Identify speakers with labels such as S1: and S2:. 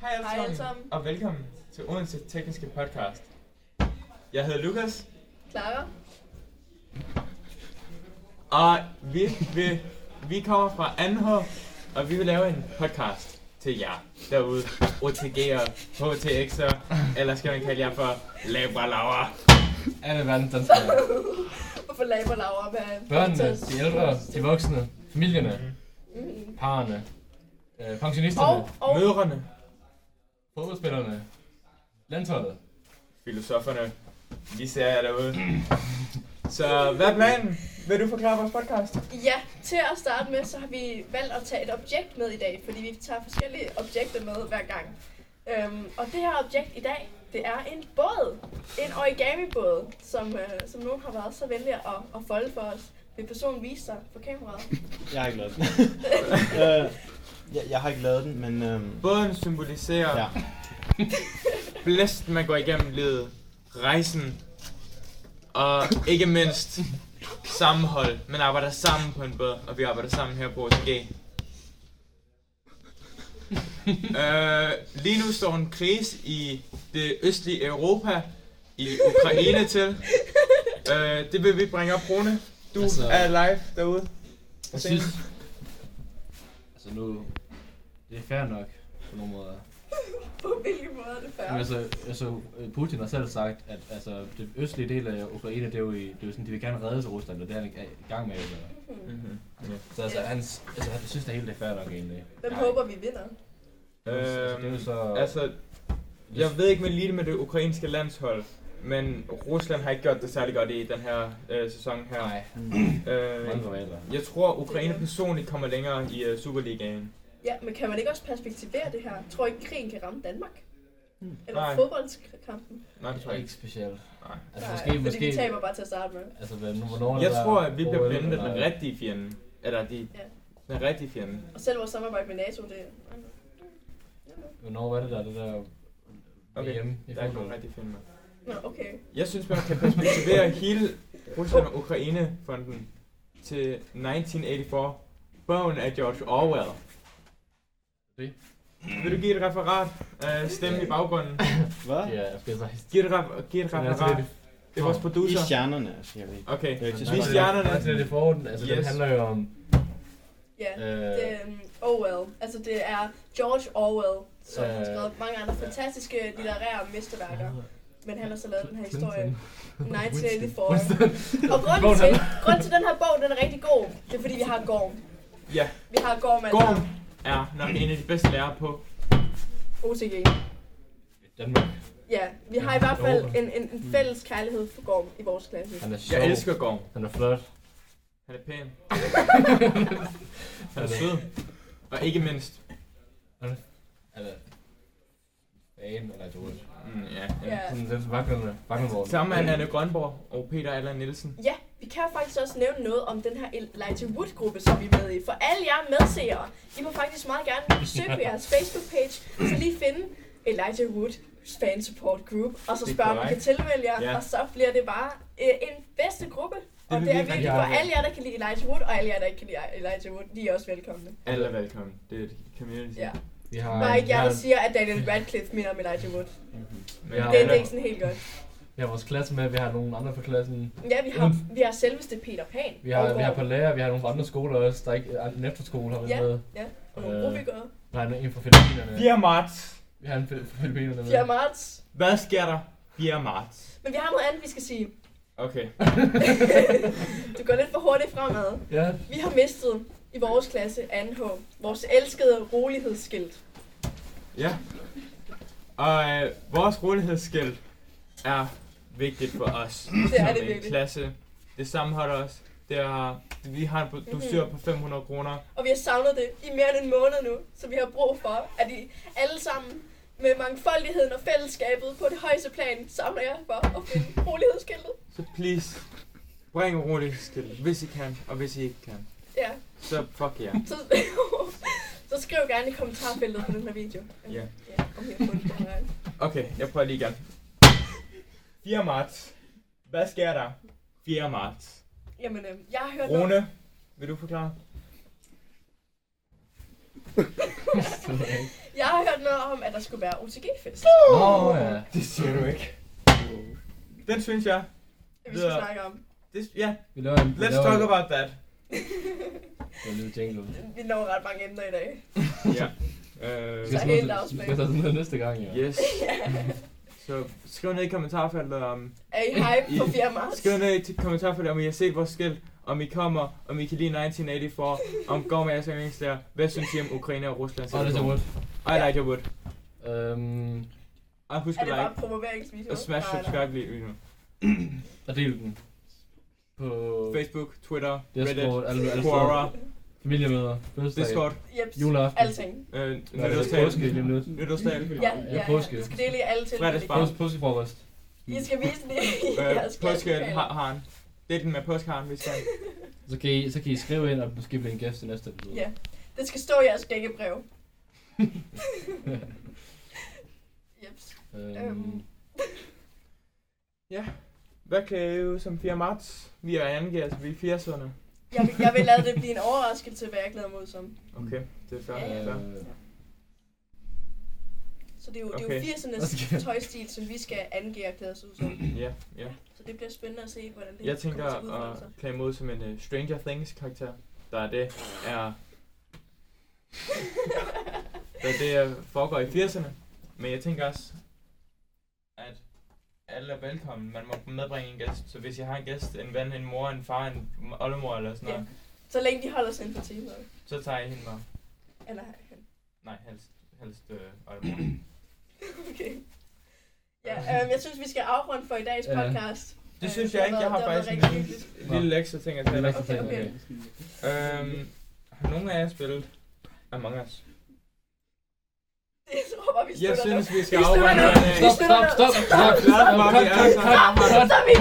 S1: Hej alle
S2: Hej
S1: sammen,
S2: alle sammen.
S1: og velkommen til Odense Tekniske Podcast. Jeg hedder Lukas,
S2: Clara.
S1: og vi, vi, vi kommer fra Anhov, og vi vil lave en podcast til jer derude. OTG'er, HTX'er, eller skal man kalde jer for labralaver.
S3: Alle verdensdanskere.
S2: Hvorfor laber Laura med
S3: Børnene, de ældre, de voksne, familierne,
S4: Mhm.
S3: parerne, øh, pensionisterne,
S2: Mm. Og, og
S1: Mødrene,
S3: fodboldspillerne, landsholdet.
S1: filosoferne, vi ser jer derude. Så hvad er planen? Vil du forklare vores podcast?
S2: ja, til at starte med, så har vi valgt at tage et objekt med i dag, fordi vi tager forskellige objekter med hver gang. Øhm, og det her objekt i dag, det er en båd. En origami-båd, som, øh, som nogen har været så venlig at, at folde for os. Vil personen vise sig på kameraet?
S5: Jeg har ikke lavet den. øh, jeg, jeg har ikke lavet den, men... Øhm,
S1: Båden symboliserer
S5: ja.
S1: blæsten, man går igennem livet, rejsen, og ikke mindst sammenhold. Man arbejder sammen på en båd, og vi arbejder sammen her på OTG. øh, lige nu står en kris i det østlige Europa, i Ukraine til. Øh, det vil vi bringe op, Rune. Du
S4: Altså-
S1: er live derude.
S4: Jeg synes... Altså nu... Det er fair nok på nogle måder.
S2: På hvilken måde er det
S4: Men
S2: færdigt?
S4: altså, altså, Putin har selv sagt, at altså, det østlige del af Ukraine, det er jo, i, det er jo sådan, de vil gerne redde til Rusland, og det er han i gang med. Eller.
S1: Mm-hmm.
S4: Så altså, hans, altså, han synes, det hele det er fair nok egentlig.
S2: Hvem
S1: Nej.
S2: håber, vi vinder?
S4: Altså, det er jo så...
S1: Altså, jeg ved ikke med lige det med det ukrainske landshold, men Rusland har ikke gjort det særlig godt i den her øh, sæson her.
S4: Nej, mange
S1: Øh,
S4: rivaler.
S1: jeg tror, Ukraine personligt kommer længere i øh, Superligaen.
S2: Ja, men kan man ikke også perspektivere det her? Tror ikke, krigen kan ramme Danmark?
S3: Hmm.
S2: Eller
S1: Nej.
S2: fodboldskampen?
S1: Nej, det
S4: Det
S1: tror
S4: er
S1: jeg ikke.
S4: ikke specielt.
S1: Nej.
S4: Altså,
S2: Nej,
S4: måske,
S2: fordi
S4: måske...
S2: vi taber bare til at starte med.
S4: Altså, hvad, nu, hvornår
S1: Jeg tror, at vi bliver blandet med den rigtige fjende. Eller de,
S2: Ja.
S1: den rigtige fjende.
S2: Og selv vores samarbejde med NATO, det...
S4: Hvornår var det der, det der...
S1: Okay,
S4: VM i
S1: der er ikke nogen
S4: fodbold?
S1: rigtige fjende.
S2: Nå, okay.
S1: Jeg synes, man kan perspektivere hele Rusland og Ukraine-fonden til 1984. Bogen af George Orwell.
S4: Det.
S1: Vil du give et referat? Øh, stemme i baggrunden.
S5: Hvad?
S4: Ja, jeg skal sige.
S1: Giv et, ref- giv et
S4: Den er til
S1: referat.
S4: det
S1: Det er vores
S5: I
S1: producer.
S5: stjernerne, altså, jeg ved ikke.
S1: Okay.
S5: Jeg er ikke så
S1: Vi
S5: smart.
S1: stjernerne.
S4: Altså, det er forhånden. Altså, yes.
S1: Yes.
S4: den handler jo om...
S2: Ja,
S4: Øh,
S2: det, um, Orwell. Altså, det er George Orwell, som har
S4: Øh,
S2: skrevet mange andre fantastiske litterære mesterværker. Men han har så lavet den her historie. 1984. Og grunden til, grunden til den her bog, den er rigtig god. Det er fordi, vi har Gorm.
S1: Ja.
S2: Vi har Gorm, altså.
S1: Gorm er nok en af de bedste lærere på.
S2: OTG.
S4: Danmark.
S2: Ja, vi har i hvert fald en, en, en fælles kærlighed for Gorm i vores klasse.
S4: Han er sjov.
S1: Jeg elsker Gorm.
S4: Han er flot.
S1: Han er pæn. Han er sød. Og ikke mindst.
S4: Han er... Fan, eller du ved.
S1: Mm, ja, ja.
S2: Ja.
S4: Sådan lidt vaklende. Vaklenvogn.
S1: Sammen med Anne Grønborg og Peter Allan Nielsen.
S2: Ja, vi kan faktisk også nævne noget om den her Elijah Wood-gruppe, som vi er med i. For alle jer medseere, I må faktisk meget gerne besøge på jeres Facebook-page, så lige finde Elijah Wood fan support group, og så
S1: Det er
S2: spørge, om I kan
S1: korrekt.
S2: tilmelde jer,
S1: Ja.
S2: og så bliver det bare øh, en bedste gruppe.
S1: vil
S2: og det er
S1: vi
S2: virkelig
S4: rigtig
S2: for
S4: gerne.
S2: alle jer, der kan lide Elijah Wood, og alle jer, der ikke kan lide Elijah Wood, de er også velkomne.
S1: Alle er velkommen. Det er et community.
S2: Ja.
S4: Vi har...
S2: Bare ikke jer, der
S4: vi har-
S2: siger, at Daniel Radcliffe minder om Elijah Wood.
S1: Men
S5: Mhm.
S4: Ja.
S2: Det, det
S1: Anna-
S2: er ikke sådan helt godt.
S4: Vi har vores klasse med, vi har nogle andre fra klassen.
S2: Ja, vi har, vi har selveste Peter Pan.
S4: Mm. Vi har,
S2: og
S4: vi har på
S2: Gorm,
S4: lærer, vi har nogle andre skoler også. Der er ikke en efterskole, har vi
S2: Ja.
S4: med.
S2: og nogle
S4: øh,
S2: rubikere.
S4: Der er en fra Filippinerne.
S1: 4. marts.
S4: Vi har en fra fra Filippinerne med.
S2: 4. marts.
S1: Hvad sker der 4. marts?
S2: Men vi har noget andet, vi skal sige.
S1: Okay.
S2: Du går lidt for hurtigt fremad.
S4: Ja.
S2: Vi har mistet i vores klasse 2H, vores elskede rolighedsskilt.
S1: Ja. Og øh, vores rådighedsskilt er vigtigt for os.
S2: Det er
S1: som
S2: det
S1: en
S2: virkelig.
S1: klasse. Det sammenholder os. Det er, vi har en
S2: Mhm.
S1: du styr på 500 kroner.
S2: Og vi har savnet det i mere end en måned nu, så vi har brug for, at I alle sammen med mangfoldigheden og fællesskabet på det højeste plan samler jer for at finde rolighedsskiltet.
S1: Så please, bring rådighedsskilt, hvis I kan, og hvis I ikke kan.
S2: Ja,
S1: Så fuck jer.
S2: så, så skriv gerne i kommentarfeltet på den her video.
S1: Ja.
S2: ja om I har fundet det her.
S1: Okay, jeg prøver lige igen. 4. marts. Hvad sker der 4. marts?
S2: Jamen, øhm, øh, jeg har hørt...
S1: Rune, vil du forklare?
S4: Det ved jeg ikke.
S2: Jeg har hørt noget om, at der skulle være OTG-fest.
S4: Nå, ja.
S1: Det siger du ikke. Den synes jeg.
S2: Vi skal
S1: Ja.
S2: snakke om.
S1: Det, ja,
S4: Vi laver en, vi
S1: let's
S4: laver
S1: talk
S4: en,
S1: about that.
S4: en lille jingle.
S2: Vi når ret mange emner i dag.
S1: Ja. Øh,
S4: Vi skal
S2: Så
S4: sådan noget-
S2: helt afspændt.
S4: vi skal tage sådan noget næste gang, ja.
S1: yes. Så skriv ned i kommentarfeltet om...
S2: Er I hype på
S1: I-
S2: 4. marts?
S1: Skriv ned i kommentarfeltet, om I har set vores skilt, om I kommer, om I kan lide 1984, om går med jeres yndlingslærer. Hvad synes I om Ukraine og Rusland?
S4: Og det er så godt.
S1: I like your wood.
S4: Øhm,
S1: Og husk
S2: Er
S1: at
S2: det
S1: like.
S2: bare promoveringsvideo?
S1: Og smash
S2: Nej, nej.
S1: subscribe lige nu.
S4: og del den. På
S1: Facebook, Twitter, Reddit,
S4: Discord, alle, alle
S1: Quora,
S4: steder. Familiemøder, fødselsdag,
S1: Discord,
S2: Jeps.
S4: juleaften.
S2: Alting.
S1: øh,
S4: Nej, det er påske
S1: nytårstale,
S4: lige om lidt.
S1: nytårstale,
S2: Ja,
S4: Ja,
S2: ja, ja.
S4: påske.
S2: Vi skal dele i alle til.
S1: Fredagsbar.
S4: Pås- Påskefrokost.
S2: I skal vise det i
S1: øh,
S2: jeres klasselokaler.
S1: påskeharen. Det er den med påskeharen, vi skal.
S4: Så kan, I, så kan I skrive ind, og måske blive en gæst i næste episode.
S2: Ja. Det skal stå i jeres gækkebrev. Jeps. Øhm.
S4: Øhm,
S1: Hvad kan jeg jo som 4. marts? Vi er angivet, altså vi er 80'erne.
S2: Jeg vil, jeg vil lade det blive en overraskelse, hvad jeg glæder mig ud som.
S1: Okay, det er fair.
S2: Ja,
S1: Ja,
S2: ja.
S1: ja.
S4: øh,
S2: Så det er jo, det er jo
S1: Okay.
S2: 80'ernes tøjstil, som vi skal angive og klæde os ud som.
S1: ja, ja.
S2: Så det bliver spændende at se, hvordan det
S1: Jeg tænker
S2: kommer til udfordring.
S1: at klæde mod som en øh, Stranger Things karakter. Der er det, er, der er det øh, foregår i 80'erne. Men jeg tænker også, at alle er velkommen. Man må medbringe en gæst. Så hvis jeg har en gæst, en ven, en mor, en far, en oldemor eller sådan
S2: Ja.
S1: noget,
S2: Så længe de holder sig inden for timer.
S1: så tager jeg hende med.
S2: Eller
S1: Nej, helst, helst øh, oldemor.
S2: okay. Ja, øhm, jeg synes, vi skal afrunde for i dagens
S4: Ja.
S2: podcast.
S1: Det
S2: Øh,
S1: synes jeg ikke. Jeg har
S2: det været
S1: faktisk en
S2: rigtig
S1: lille,
S2: hyggeligt.
S1: lille lektie ting at
S4: det er
S1: tale om.
S4: rigtig
S2: Okay,
S4: fedt,
S2: okay.
S4: okay.
S1: Øhm, har nogen af jer spillet Among Us?
S2: Jeg tror bare, vi
S1: Jeg
S2: slutter nu.
S1: synes, vi skal
S2: Vi slutter
S1: afrunde
S2: nu.
S1: den af.
S2: Vi
S4: Stop,
S2: slutter
S4: stop,
S2: nu.
S1: Stop,
S4: stop, stop, stop, stop,
S1: Bobby,
S4: cut, cut,
S1: altså.
S4: cut, cut.
S2: Så er vi